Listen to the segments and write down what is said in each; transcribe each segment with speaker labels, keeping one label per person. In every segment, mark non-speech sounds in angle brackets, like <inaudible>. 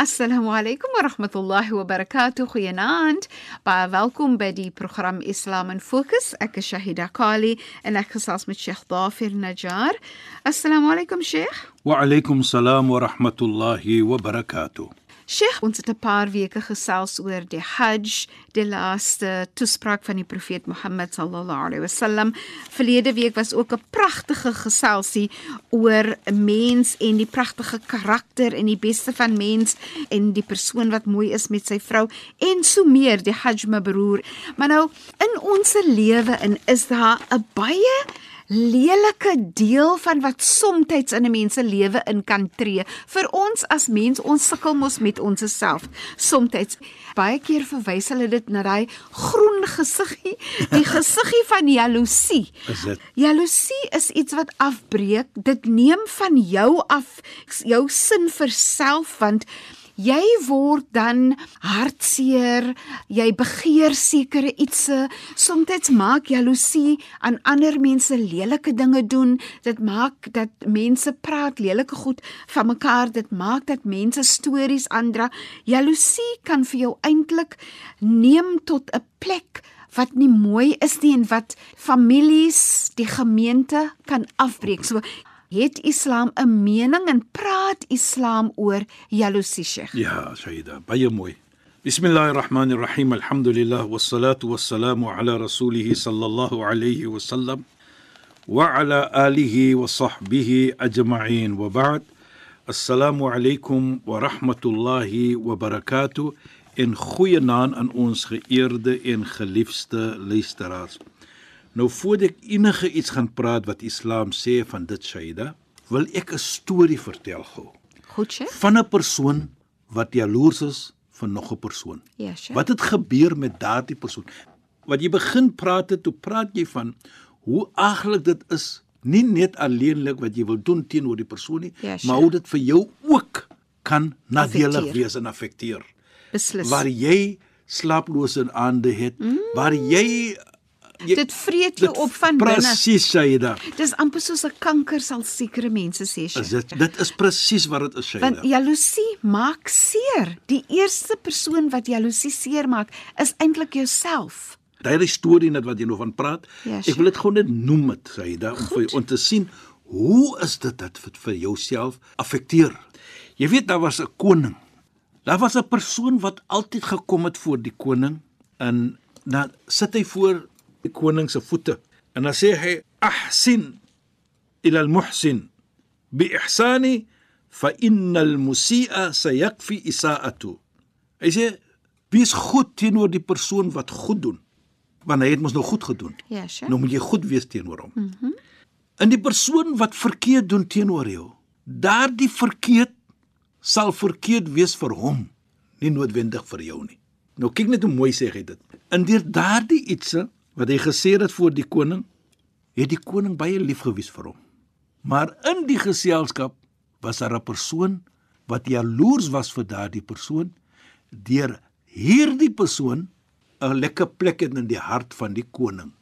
Speaker 1: Assalamu alaykum wa rahmatullahi wa barakatuh. Goeienaand. Baie welkom by die program Islam in Fokus. Ek is Shahida Kali en ek gesels met Sheikh Dafer Najjar. Assalamu alaykum Sheikh.
Speaker 2: وعليكم السلام ورحمة الله وبركاته
Speaker 1: Sheikh, ons het 'n paar weke gesels oor die Hajj, die laaste toespraak van die profeet Mohammed sallallahu alaihi wasallam. Verlede week was ook 'n pragtige geselsie oor 'n mens en die pragtige karakter en die beste van mens en die persoon wat mooi is met sy vrou en so meer, die Hajj mabrur. Maar nou in ons lewe in is daar 'n baie lelike deel van wat soms in 'n mens se lewe in kan tree. Vir ons as mens, ons sukkel mos met onsself. Soms baie keer verwys hulle dit na daai groen gesiggie, die gesiggie van jaloesie.
Speaker 2: Is dit?
Speaker 1: Jaloesie is iets wat afbreek. Dit neem van jou af jou sin vir self want Jy word dan hartseer, jy begeer sekere ietsie. Soms maak jaloesie aan ander mense lelike dinge doen. Dit maak dat mense praat lelike goed van mekaar. Dit maak dat mense stories aandra. Jaloesie kan vir jou eintlik neem tot 'n plek wat nie mooi is nie en wat families, die gemeente kan afbreek. So het Islam 'n mening en praat Islam oor jaloesie, Sheikh?
Speaker 2: يا شهيدة بايا موي بسم الله الرحمن الرحيم الحمد لله والصلاة والسلام على رسوله صلى الله عليه وسلم وعلى آله وصحبه أجمعين وبعد السلام عليكم ورحمة الله وبركاته en goeienaand aan ons geëerde en geliefde luisteraars. Nou voordat ek enige iets gaan praat wat Islam sê van dit Shaida, wil ek 'n storie vertel gou.
Speaker 1: Goed, Sheikh?
Speaker 2: van 'n persoon wat jaloers is van nog 'n persoon.
Speaker 1: Ja, Sheikh.
Speaker 2: Wat het gebeur met daardie persoon? Wat jy begin praat het, toe praat jy van hoe aglik dit is, nie net alleenlik wat jy wil doen teenoor die persoon nie,
Speaker 1: Ja, Sheikh.
Speaker 2: maar hoe dit vir jou ook kan nadelig
Speaker 1: Affekteer.
Speaker 2: wees en affekteer.
Speaker 1: Beslis.
Speaker 2: Waar jy slaaplose aande het, mm. waar jy, jy
Speaker 1: dit vreet jou op van binne.
Speaker 2: Presies, Shaida.
Speaker 1: Dis amper soos 'n kanker sal sekere mense sê,
Speaker 2: Is
Speaker 1: Sheikh.
Speaker 2: dit ja? dit is presies wat dit is, Shaida.
Speaker 1: Want jaloesie maak seer. Die eerste persoon wat jaloesie seer maak, is eintlik jouself.
Speaker 2: Daai storie net wat jy nou van praat.
Speaker 1: Ja,
Speaker 2: ek wil dit gewoon net noem dit Saida om vir
Speaker 1: Goed.
Speaker 2: om te sien hoe is dit dat vir, vir jouself affekteer. Jy weet daar was 'n koning. Daar was 'n persoon wat altyd gekom het voor die koning en dan sit hy voor die koning se voete en dan sê hy ahsin ila al-muhsin bi-ihsani fa innal musii'a sayakfi isaa'atu. Hy sê wees goed teenoor die persoon wat goed doen, want hy het mos nou goed gedoen.
Speaker 1: Ja, Sheikh.
Speaker 2: Nou moet jy goed wees teenoor hom. Mhm. Mm en die persoon wat verkeerd doen teenoor jou, daardie verkeerd sal verkeerd wees vir hom, nie noodwendig vir jou nie. Nou kyk net hoe mooi sê hy dit. En deur daardie ietsie wat hy gesê het voor die koning, het die koning baie lief gewees vir hom. Maar in die geselskap was daar 'n persoon wat jaloers was vir daardie persoon deur hierdie persoon 'n lekker plek het in die hart van die koning.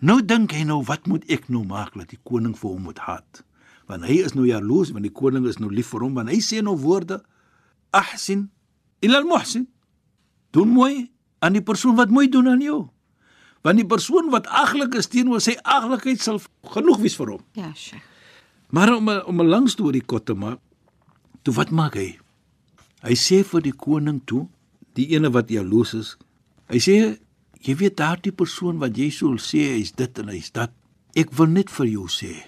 Speaker 2: Nou dink hy nou, wat moet ek nou maak dat die koning vir hom moet haat? Want hy is nou jaloers want die koning is nou lief vir hom want hy sê nou woorde ahsin ila al-muhsin. Doen mooi aan die persoon wat mooi doen aan jou. Want die persoon wat aglik is teenoor sy aglikheid sal genoeg wees vir hom.
Speaker 1: Ja, Sheikh.
Speaker 2: Maar om 'n- om 'n lang storie kort te maak, toe wat maak hy? Hy sê vir die koning toe, die ene wat jaloers is. Hy sê, jy weet daardie persoon wat jy sou sê hy's dit en hy's dat. Ek wil net vir jou sê.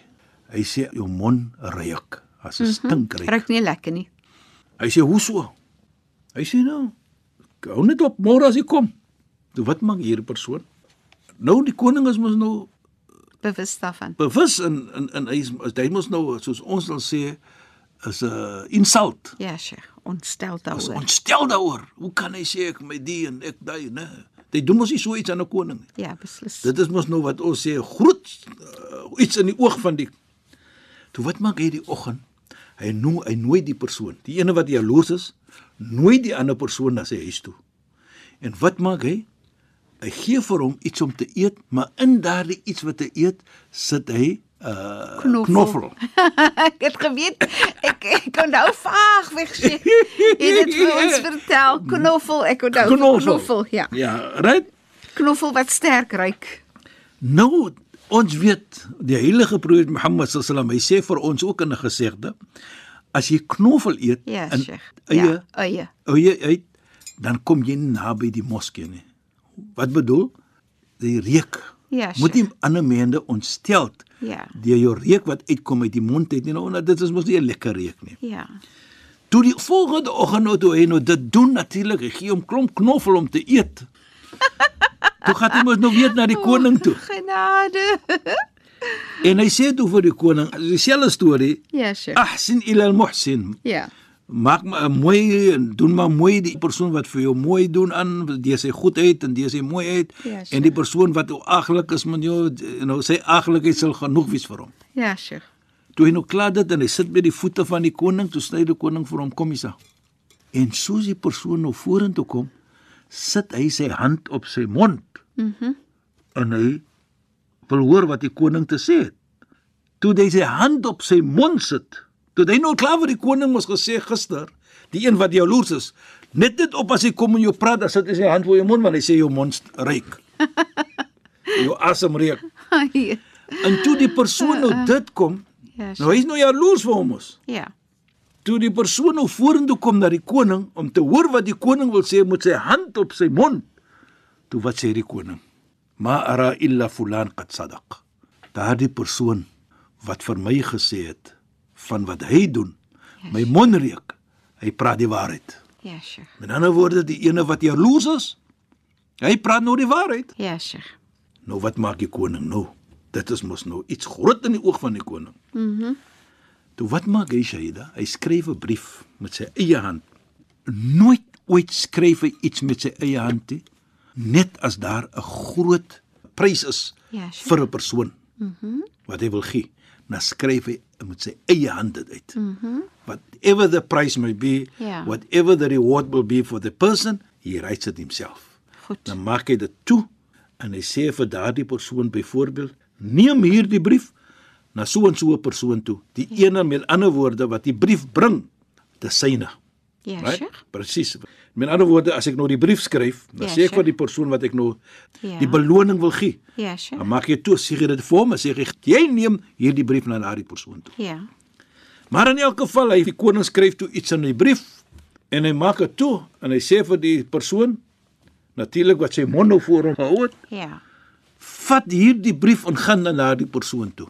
Speaker 2: Hy sê jou mond ruik, as 'n mm -hmm. stinkryk.
Speaker 1: Ruik nie lekker nie.
Speaker 2: Hy sê hoe so? Hy sê nou, hou net op môre as jy kom. Toe wat maak hierdie persoon? Nou die koning is mos nou
Speaker 1: bewus daarvan.
Speaker 2: bewus in in in hy is hy mos nou soos ons dan sê is 'n insult.
Speaker 1: Ja, Sheikh, ontstel
Speaker 2: Ons
Speaker 1: daaroor.
Speaker 2: ontstel daaroor. Hoe kan hy sê ek my die en ek daai, né? Dit doen mos nie so iets aan 'n koning nie.
Speaker 1: Ja, beslis. <laughs>
Speaker 2: Dit is mos nou wat ons sê groot uh, iets in die oog van die Toe wat maak hy die oggend? Hy noem hy nooi die persoon. Die ene wat jaloers is, nooi die ander persoon na sy huis toe. En wat maak hy? Hy gee vir hom iets om te eet, maar in daardie iets wat hy eet, sit hy uh
Speaker 1: Knoffel.
Speaker 2: knoffel.
Speaker 1: ek het geweet ek ek onthou nou vaag weg Sheikh. Jy het
Speaker 2: <laughs>
Speaker 1: dit vir ons vertel, knoffel, ek onthou van <laughs> knoffel, ja.
Speaker 2: Ja, right?
Speaker 1: Knoffel wat sterk ruik.
Speaker 2: Nou ons weet die heilige profeet Mohammed sallam hy sê vir ons ook in 'n gesegde as jy knoffel eet
Speaker 1: Ja,
Speaker 2: en
Speaker 1: Sheikh.
Speaker 2: eie
Speaker 1: Ja, eie.
Speaker 2: eie uit dan kom jy nie naby die moskee nie. Wat bedoel? Die reuk.
Speaker 1: Ja,
Speaker 2: Moet nie ander mense ontstel
Speaker 1: Ja.
Speaker 2: deur jou reuk wat uitkom uit die mond uit nie. Nou nou, dit is mos nie 'n lekker reuk nie.
Speaker 1: Ja.
Speaker 2: Toe die volgende oggend nou toe hy nou dit doen natuurlik, hy gee hom klomp knoffel om te eet. toe gaan hy mos nou weer na die koning toe.
Speaker 1: Oh, Genade.
Speaker 2: En hy sê toe vir die koning, dieselfde storie,
Speaker 1: Ja, Sheikh.
Speaker 2: ahsin ila al-muhsin.
Speaker 1: Ja.
Speaker 2: Maak maar mooi en doen maar mooi die persoon wat vir jou mooi doen aan, die sy goedheid en die sy mooiheid
Speaker 1: Ja, sure.
Speaker 2: en die persoon wat jou aglik is met jou, nou sy aglikheid sal genoeg wees vir hom.
Speaker 1: Ja, Sheikh. <laughs>
Speaker 2: Toe hy nou klaar dit en hy sit by die voete van die koning, toe sny die koning vir hom kom hiersa. En soos die persoon nou vorentoe kom, sit hy sy hand op sy mond. Mhm. Mm en hy wil hoor wat die koning te sê het. Toe hy sy hand op sy mond sit, toe hy nou klaar vir die koning mos gesê gister, die een wat jaloers is, net net op as hy kom en jou praat, dan sit hy sy hand voor jou mond want hy sê jou mond ruik. jou asem reuk. En toe die persoon nou dit kom,
Speaker 1: Ja,
Speaker 2: Nou hy's nou jaloers vir hom ons.
Speaker 1: Ja.
Speaker 2: Toe die persoon nou vorentoe kom na die koning om te hoor wat die koning wil sê met sy hand op sy mond. Toe wat sê die koning? Ma ara illa fulan qad sadaq. Daardie persoon wat vir my gesê het van wat hy doen, my mond reuk. Hy praat die waarheid.
Speaker 1: Ja, Sheikh.
Speaker 2: Met ander woorde, die ene wat jaloers is, hy praat nou die waarheid.
Speaker 1: Ja, Sheikh.
Speaker 2: Nou wat maak die koning nou? Dit is mos nou iets groot in die oog van die koning. Mhm. Mm Toe wat maak hy Shaida? Hy skryf 'n brief met sy eie hand. Nooit ooit skryf hy iets met sy eie hand nie, net as daar 'n groot prys is
Speaker 1: Ja, sure.
Speaker 2: vir 'n persoon. Mhm. Mm wat hy wil gee, dan skryf hy met sy eie hand dit uit. Mhm. Mm whatever the price may be,
Speaker 1: Ja.
Speaker 2: whatever the reward will be for the person, he writes it himself.
Speaker 1: Goed.
Speaker 2: Dan maak hy dit toe en hy sê vir daardie persoon byvoorbeeld, neem hierdie brief na so en so 'n persoon toe. Die ja. ene met ander woorde wat die brief bring, dis syne.
Speaker 1: Ja, Sheikh.
Speaker 2: Presies. Met ander woorde, as ek nou die brief skryf, dan
Speaker 1: Ja,
Speaker 2: ja, sê ek
Speaker 1: sure.
Speaker 2: vir die persoon wat ek nou
Speaker 1: Ja.
Speaker 2: ja. die beloning wil gee.
Speaker 1: Ja, Sheikh.
Speaker 2: Dan maak jy toe sê jy dit vir hom en sê jy, jy neem hierdie brief na daardie persoon toe.
Speaker 1: Ja.
Speaker 2: Maar in elk geval, hy die koning skryf toe iets in die brief en hy maak dit toe en hy sê vir die persoon natuurlik wat sy mond nou voor hom gehou het,
Speaker 1: Ja.
Speaker 2: vat hierdie brief en gaan dan na die persoon toe.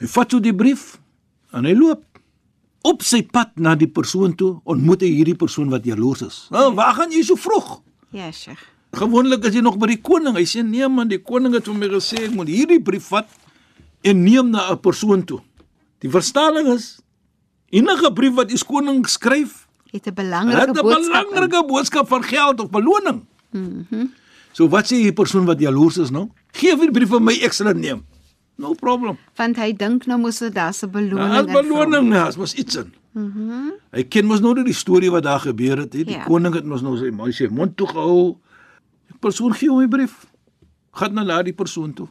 Speaker 2: Hy vat toe die brief en hy loop op sy pad na die persoon toe, ontmoet hy hierdie persoon wat jaloers is. "Nou, waar gaan jy so vroeg?"
Speaker 1: Ja, Sheikh.
Speaker 2: Gewoonlik is jy nog by die koning. Hy sê nee man, die koning het vir my gesê ek moet hierdie brief vat en neem na 'n persoon toe. Die verstaling is enige brief wat die koning skryf,
Speaker 1: Het 'n
Speaker 2: het
Speaker 1: belangrike
Speaker 2: 'n
Speaker 1: boodskap. in.
Speaker 2: belangrike boodskap van geld of beloning. Mhm. So wat sê hierdie persoon wat jaloers is nou? Geef hierdie brief aan my, ek sal dit neem. No problem.
Speaker 1: Want hy dink nou mos dat daar 'n beloning
Speaker 2: Daar's
Speaker 1: in vir hom.
Speaker 2: beloning, daar's mos iets in. Mhm. Hy ken mos nou net die storie wat daar gebeur het. He. Die
Speaker 1: Ja.
Speaker 2: ja. koning het mos nou sy mond sy mond toe gehou. Die persoon gee hom 'n brief. Gaan na daardie persoon toe.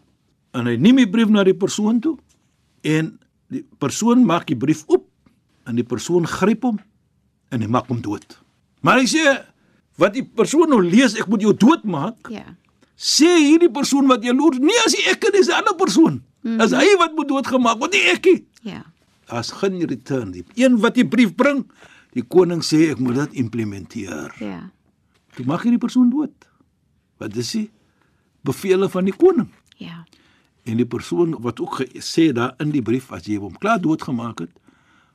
Speaker 2: En hy neem die brief na die persoon toe en die persoon maak die brief oop en die persoon gryp hom en hy maak hom dood. Maar hy sê wat die persoon nou lees, ek moet jou doodmaak
Speaker 1: Ja.
Speaker 2: sê hierdie persoon wat jaloers, nee as hy ek en dis 'n ander persoon. Mm.
Speaker 1: Mhm.
Speaker 2: As hy wat moet doodgemaak word, nie ek nie.
Speaker 1: Ja.
Speaker 2: Daar's geen return nie. Een wat die brief bring, die koning sê ek moet dit implementeer.
Speaker 1: Ja.
Speaker 2: Toe mag hierdie persoon dood. Wat is die bevele van die koning?
Speaker 1: Ja.
Speaker 2: En die persoon wat ook ge- sê daar in die brief as jy hom klaar doodgemaak het,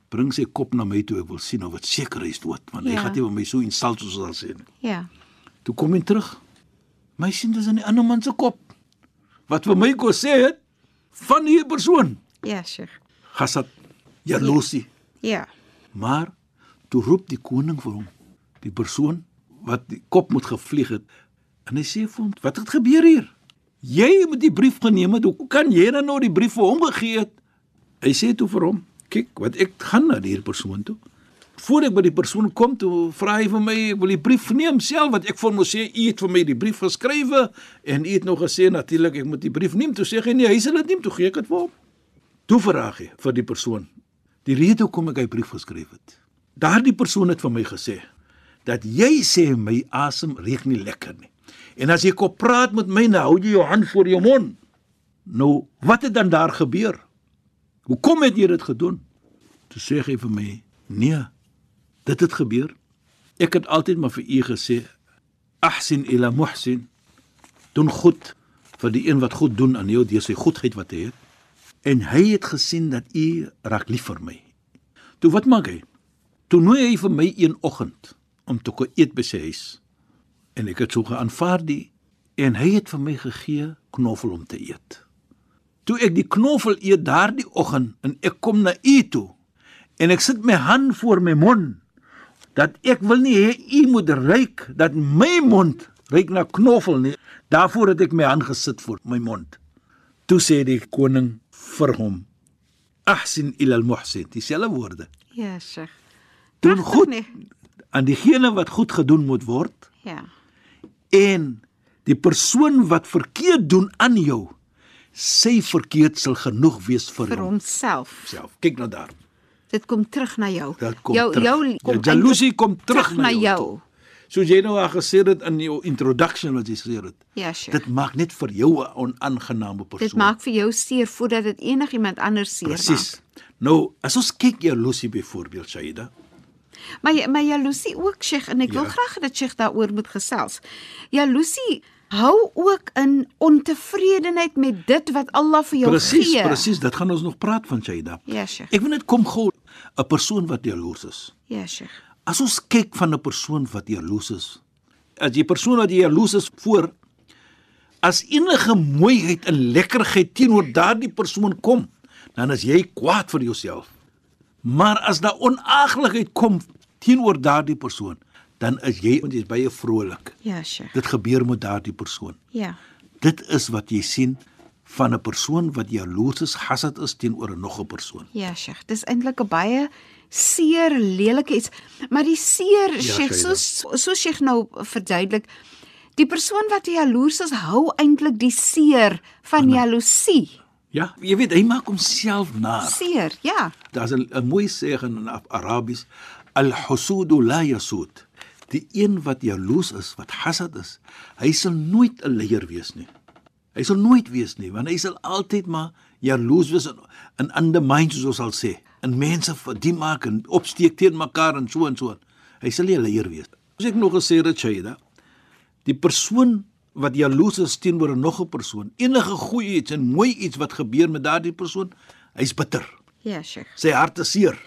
Speaker 2: bring sy kop na my toe, ek wil sien of dit seker is dood, want ja. hy
Speaker 1: Ja.
Speaker 2: gaan nie vir my so insult soos ons al sê nie.
Speaker 1: Ja.
Speaker 2: Toe kom hy terug. My sien dis in die ander man se kop. Wat vir my kos sê het van hierdie persoon,
Speaker 1: Ja, Sheikh.
Speaker 2: hasad, jaloesie.
Speaker 1: Ja.
Speaker 2: Maar toe roep die koning vir hom, die persoon wat die kop moet gevlieg het, en hy sê vir hom, "Wat het gebeur hier? Jy moet die brief geneem het. Hoe kan jy dan nou die brief vir hom gegee het?" Hy sê toe vir hom, "Kyk, wat ek gaan na hierdie persoon toe. Voor ek by die persoon kom, toe vra hy vir my, ek wil die brief neem self wat ek vir hom moes sê, u het vir my die brief geskrywe en u het nog gesê natuurlik ek moet die brief neem." Toe sê hy, "Nee, hy sal dit neem." Toe gee ek dit vir hom. Toe vraag hy vir die persoon die rede hoekom ek hy brief geskryf het. Daardie persoon het vir my gesê dat jy sê my asem reuk nie lekker nie. En as jy kom praat met my, nou hou jy jou hand voor jou mond. Nou, wat het dan daar gebeur? Hoekom het jy dit gedoen? Toe sê hy vir my: "Nee, dit het gebeur. Ek het altyd maar vir u gesê, ahsin ila muhsin, doen goed vir die een wat goed doen aan jou deur sy goedheid wat hy het." en hy het gesien dat u raak lief vir my. Toe wat maak hy? Toe nooi hy vir my een oggend om te kom eet by sy huis. En ek het so geaanvaar die en hy het vir my gegee knoffel om te eet. Toe ek die knoffel eet daardie oggend en ek kom na u toe en ek sit my hand voor my mond dat ek wil nie hê u moet ruik dat my mond ruik na knoffel nie. Daarvoor het ek my hand gesit voor my mond. Toe sê die koning vir hom: "Ahsin ila al-muhsin." Dieselfde woorde.
Speaker 1: Ja, Sheikh.
Speaker 2: Doen
Speaker 1: Pragtig,
Speaker 2: goed
Speaker 1: nee.
Speaker 2: aan diegene wat goed gedoen moet word
Speaker 1: Ja.
Speaker 2: en die persoon wat verkeerd doen aan jou, sy verkeerd sal genoeg wees vir,
Speaker 1: Vir
Speaker 2: vir hom
Speaker 1: homself.
Speaker 2: self. Kyk na daar.
Speaker 1: Dit kom terug na jou.
Speaker 2: Dit Ja. kom
Speaker 1: jou
Speaker 2: terug.
Speaker 1: jou
Speaker 2: Jou jaloesie kom terug na jou
Speaker 1: jou.
Speaker 2: Soos jy nou al gesê het in jou introduction wat jy gesê het.
Speaker 1: Ja, Sheikh.
Speaker 2: Dit maak net vir jou 'n onaangename persoon.
Speaker 1: Dit maak vir jou seer voordat dit enigiemand anders seer maak.
Speaker 2: presies. Nou, as ons kyk jaloesie byvoorbeeld, Shaida,
Speaker 1: Maar jy- maar jaloesie ook, Sheikh, en ek wil
Speaker 2: Ja.
Speaker 1: graag dat Sheikh daaroor moet gesels. Jaloesie hou ook in ontevredenheid met dit wat Allah vir jou
Speaker 2: Presies,
Speaker 1: gee.
Speaker 2: presies, dit gaan ons nog praat van Shaida.
Speaker 1: Ja, Sheikh.
Speaker 2: Ek wil net kom gou 'n persoon wat jaloers is.
Speaker 1: Ja, Sheikh.
Speaker 2: As ons kyk van 'n persoon wat jaloers is, as die persoon wat jaloers is voor as enige mooiheid en lekkerheid teenoor daardie persoon kom, dan is jy kwaad vir jouself. Maar as daar onaaglikheid kom teenoor daardie persoon, dan is jy want jy's baie vrolik.
Speaker 1: Ja, Sheikh.
Speaker 2: Dit gebeur met daardie persoon.
Speaker 1: Ja.
Speaker 2: Dit is wat jy sien van 'n persoon wat jaloers is, hasad is teenoor 'n nog 'n persoon.
Speaker 1: Ja, Sheikh. Dis eintlik 'n baie seer lelike iets, maar die seer ja, Sheikh,
Speaker 2: Shaida.
Speaker 1: soos soos Sheikh nou verduidelik, die persoon wat jaloers is, hou eintlik die seer van jaloesie.
Speaker 2: Ja, jy weet, hy maak homself naar.
Speaker 1: Seer, ja.
Speaker 2: Daar's 'n 'n mooi sêgin in Af- Arabies, al-husudu la yasud. Die een wat jaloers is, wat hasad is, hy sal nooit 'n leier wees nie. Hy sal nooit wees nie, want hy sal altyd maar jaloers wees en in ander minds soos ons sal sê. En mense verdien maak en opsteek teen mekaar en so en so. Hy sal nie 'n leier wees. As ek nog gesê het, Shaida, die persoon wat jaloers is teenoor nog 'n persoon, enige goeie iets en mooi iets wat gebeur met daardie persoon, hy's bitter.
Speaker 1: Ja, Sheikh.
Speaker 2: Sy hart is seer.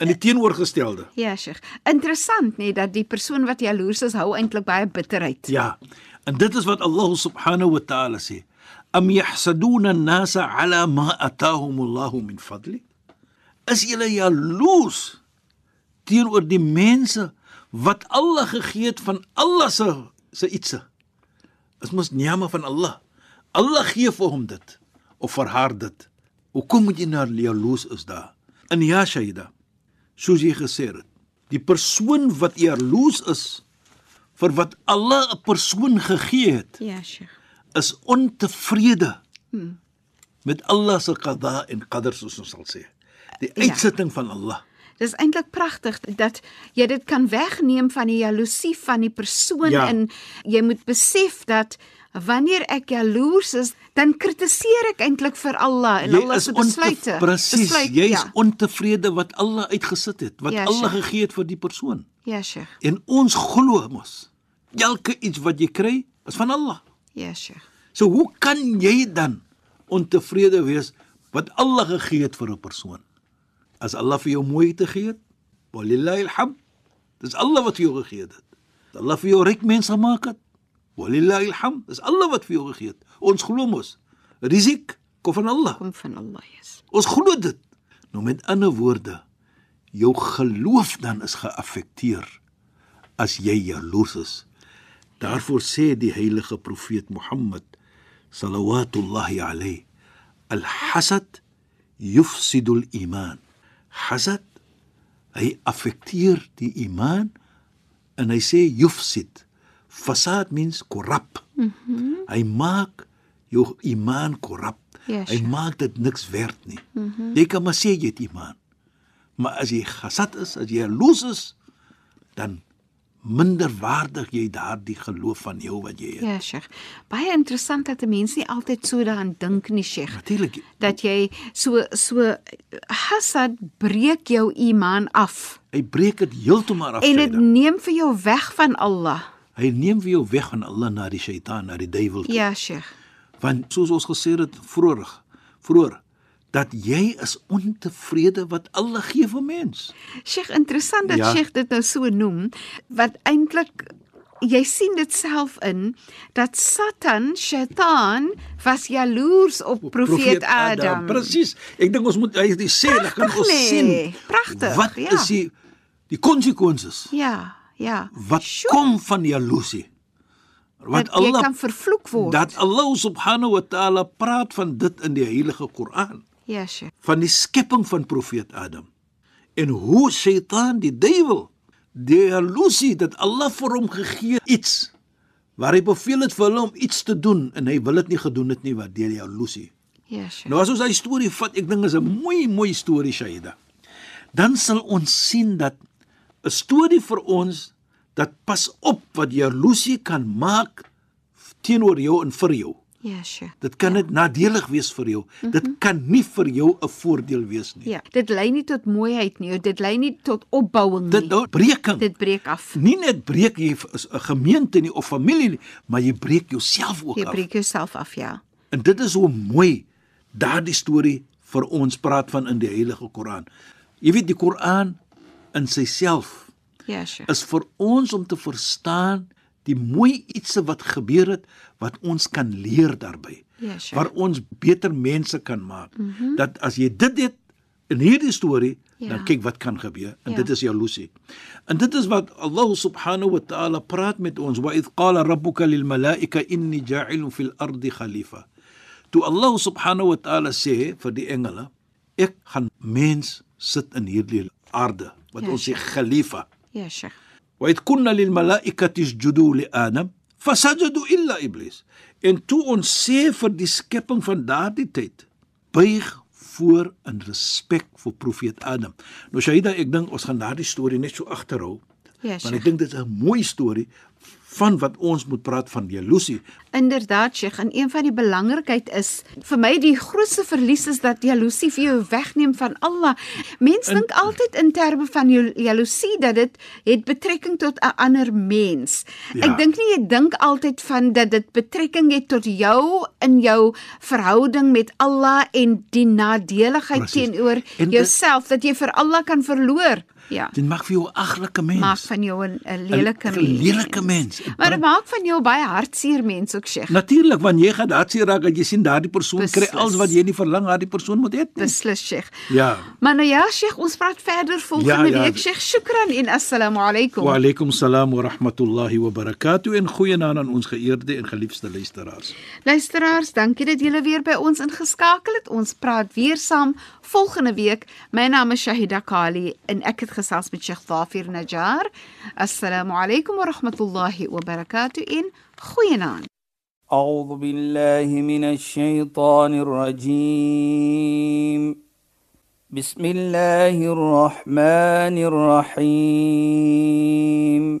Speaker 2: In die teenoorgestelde.
Speaker 1: Ja, Sheikh. Interessant nê dat die persoon wat jaloers is, hou eintlik baie bitterheid.
Speaker 2: Ja. En dit is wat Allah subhanahu wa ta'ala sê. Am yahsaduna an-nasa 'ala ma atahum Allah min fadli? Is julle jaloers teenoor die mense wat Allah gegee het van Allah se se ietsie? Dit mos niame van Allah. Allah gee vir hom dit of vir haar dit. Hoekom moet jy nou jaloers is daar? In ja, Shaida. soos jy gesê het. Die persoon wat jaloers is vir wat Allah 'n persoon gegee het,
Speaker 1: Ja, Sheikh.
Speaker 2: is ontevrede hmm. met Allah se qada en qadar soos ons sal sê. Die
Speaker 1: Ja.
Speaker 2: uitsetting van Allah.
Speaker 1: Dis eintlik pragtig dat jy dit kan wegneem van die jaloesie van die persoon
Speaker 2: Ja.
Speaker 1: en jy moet besef dat wanneer ek jaloers is, dan kritiseer ek eintlik vir Allah en Allah se
Speaker 2: onte-
Speaker 1: besluite.
Speaker 2: presies,
Speaker 1: Besluit,
Speaker 2: jy is
Speaker 1: ja.
Speaker 2: ontevrede wat Allah uitgesit het, wat
Speaker 1: Ja,
Speaker 2: Allah
Speaker 1: Sheikh.
Speaker 2: gegee het vir die persoon.
Speaker 1: Ja, Sheikh.
Speaker 2: En ons glo mos, elke iets wat jy kry, is van Allah.
Speaker 1: Ja, Sheikh.
Speaker 2: So hoe kan jy dan ontevrede wees wat Allah gegee het vir 'n persoon? As Allah vir jou mooi te gee het, walillahi alham. Dis Allah wat vir jou gegee het. As Allah vir jou ryk mens gemaak het, Walillahi alham. Dis Allah wat vir jou gegee het. Ons glo mos. Risik kom van Allah.
Speaker 1: kom van Allah is.
Speaker 2: Ons glo dit. Nou met ander woorde, jou geloof dan is geaffekteer as jy jaloers is. Daarvoor sê die heilige profeet Mohammed sallallahu alayhi al-hasad yufsidu al-iman. Hasad hy affekteer die iman en hy sê yufsid. Fasad means korrup. Mm -hmm. Hy maak jou iman korrup.
Speaker 1: Mhm. Ja,
Speaker 2: hy
Speaker 1: sure. Mhm.
Speaker 2: maak dit niks werd nie. Mm -hmm. Jy kan maar sê jy het iman. Maar as jy hasad is, as jy jaloers is, dan minderwaardig jy daardie geloof van jou wat jy het. Ja.
Speaker 1: Ja, Sheikh. Baie interessant dat 'n mens nie altyd so daaraan dink nie, Sheikh.
Speaker 2: Natuurlik.
Speaker 1: Dat jy so so hasad breek jou iman af
Speaker 2: Hy breek dit heeltemal af.
Speaker 1: en dit
Speaker 2: Saida.
Speaker 1: neem vir jou weg van Allah.
Speaker 2: Hy neem vir jou weg van Allah na die Satan, na die duiwel. toe.
Speaker 1: Ja, Sheikh.
Speaker 2: Want soos ons gesê het vroeër, vroeër dat jy is ontevrede wat Allah gee vir mens.
Speaker 1: Sheikh, interessant dat
Speaker 2: Ja.
Speaker 1: ja. Sheikh dit nou so noem, wat eintlik jy sien dit self in dat Satan, Shaitan was jaloers op, op profeet Adam.
Speaker 2: Presies. Ek dink ons moet hy hy sê dan kan ons
Speaker 1: nee.
Speaker 2: sien.
Speaker 1: Pragtig,
Speaker 2: Wat
Speaker 1: ja.
Speaker 2: is die die konsekwensies
Speaker 1: Ja, ja.
Speaker 2: wat
Speaker 1: Sjoe,
Speaker 2: kom van jaloesie? Wat
Speaker 1: dat jy
Speaker 2: Allah
Speaker 1: kan vervloek word.
Speaker 2: dat Allah subhanahu wa ta'ala praat van dit in die heilige Koran.
Speaker 1: ja, Sheikh.
Speaker 2: van die skepping van profeet Adam en hoe Satan die duiwel die illusie dat Allah vir hom gegee iets waar hy beveel het vir hulle om iets te doen en hy wil dit nie gedoen het nie wat deur die illusie.
Speaker 1: Ja, Sheikh.
Speaker 2: Nou as ons daai storie vat, ek dink is 'n mooi mooi storie Shaida. Dan sal ons sien dat 'n storie vir ons dat pas op wat jaloesie kan maak teenoor jou en vir jou.
Speaker 1: Ja, Sheikh.
Speaker 2: Dit kan net nadelig wees vir jou.
Speaker 1: Mhm.
Speaker 2: Mm -hmm. Dit kan nie vir jou 'n voordeel wees nie.
Speaker 1: Ja, dit lei nie tot mooiheid nie, dit lei nie tot opbouing
Speaker 2: Dit
Speaker 1: nie.
Speaker 2: nou breking.
Speaker 1: Ja. Dit breek af.
Speaker 2: nie net breek jy 'n gemeente nie of familie nie, maar jy breek jouself ook
Speaker 1: Jy
Speaker 2: af.
Speaker 1: breek jouself af, ja.
Speaker 2: En dit is hoe mooi daardie storie vir ons praat van in die Heilige Koran. Jy weet die Koran in syself
Speaker 1: Ja, Sheikh.
Speaker 2: is vir ons om te verstaan die mooi ietsie wat gebeur het wat ons kan leer daarbey.
Speaker 1: Ja, sure.
Speaker 2: Waar ons beter mense kan maak. Mm -hmm. Dat as jy dit het in hierdie storie, ja.
Speaker 1: Ja.
Speaker 2: dan kyk wat kan gebeur. En ja.
Speaker 1: Ja.
Speaker 2: dit is jaloesie. En dit is wat Allah subhanahu wa ta'ala praat met ons. Wa id qala rabbuka lil malaika inni ja'ilun fil ardi khalifa. Toe Allah subhanahu wa ta'ala sê vir die engele, ek gaan mens sit in hierdie aarde wat ja,
Speaker 1: Ja,
Speaker 2: ons sê
Speaker 1: sure.
Speaker 2: khalifa. Ja.
Speaker 1: Ja, Sheikh.
Speaker 2: وإذ كنا للملائكة اسجدوا لآدم فسجدوا إلا إبليس en toe ons sê vir die skepping van daardie tyd buig voor in respek vir profeet Adam. Nou Shaida, ek dink ons gaan daardie storie net so agterhou.
Speaker 1: Ja,
Speaker 2: want ek
Speaker 1: Sheikh.
Speaker 2: dink dit is 'n mooi storie van wat ons moet praat van jaloesie.
Speaker 1: Inderdaad, Sheikh, en een van die belangrikheid is vir my die grootste verlies is dat jaloesie vir jou wegneem van Allah. Mense dink altyd in terme van jou jaloesie dat dit het betrekking tot 'n ander mens.
Speaker 2: Ja.
Speaker 1: Ek dink nie jy dink altyd van dat dit betrekking het tot jou in jou verhouding met Allah en die nadeligheid
Speaker 2: Presies.
Speaker 1: teenoor
Speaker 2: En dit-
Speaker 1: jouself dat jy vir Allah kan verloor. Ja.
Speaker 2: Dit maak vir jou 'n aglike mens.
Speaker 1: Maak van jou 'n- 'n lelike
Speaker 2: Een-
Speaker 1: mens.
Speaker 2: een lelike mens. Nou,
Speaker 1: Maar dit maak van jou baie hartseer mens ook, Sheikh.
Speaker 2: Natuurlik, want jy gaan daardie raak dat jy sien daardie persoon kry
Speaker 1: Beslis.
Speaker 2: alles wat jy nie verlang daardie persoon moet hê nie.
Speaker 1: Beslis, Sheikh.
Speaker 2: Ja.
Speaker 1: Maar nou ja, Sheikh, ons praat verder volgende
Speaker 2: Ja,
Speaker 1: ja,
Speaker 2: ja.
Speaker 1: ja. week. Sheikh, shukran en assalamu alaykum.
Speaker 2: Wa alaykum salaam wa rahmatullahi wa barakatuh en goeienaand aan ons geëerde en geliefde luisteraars.
Speaker 1: Luisteraars, dankie dat julle weer by ons ingeskakel het. Ons praat weer saam volgende week. My naam is Shahida Kali en ek het gesels met Sheikh Zafir Najjar. Assalamu alaykum wa rahmatullahi wa barakatuh en goeienaand.
Speaker 3: أعوذ بالله من الشيطان الرجيم بسم الله الرحمن الرحيم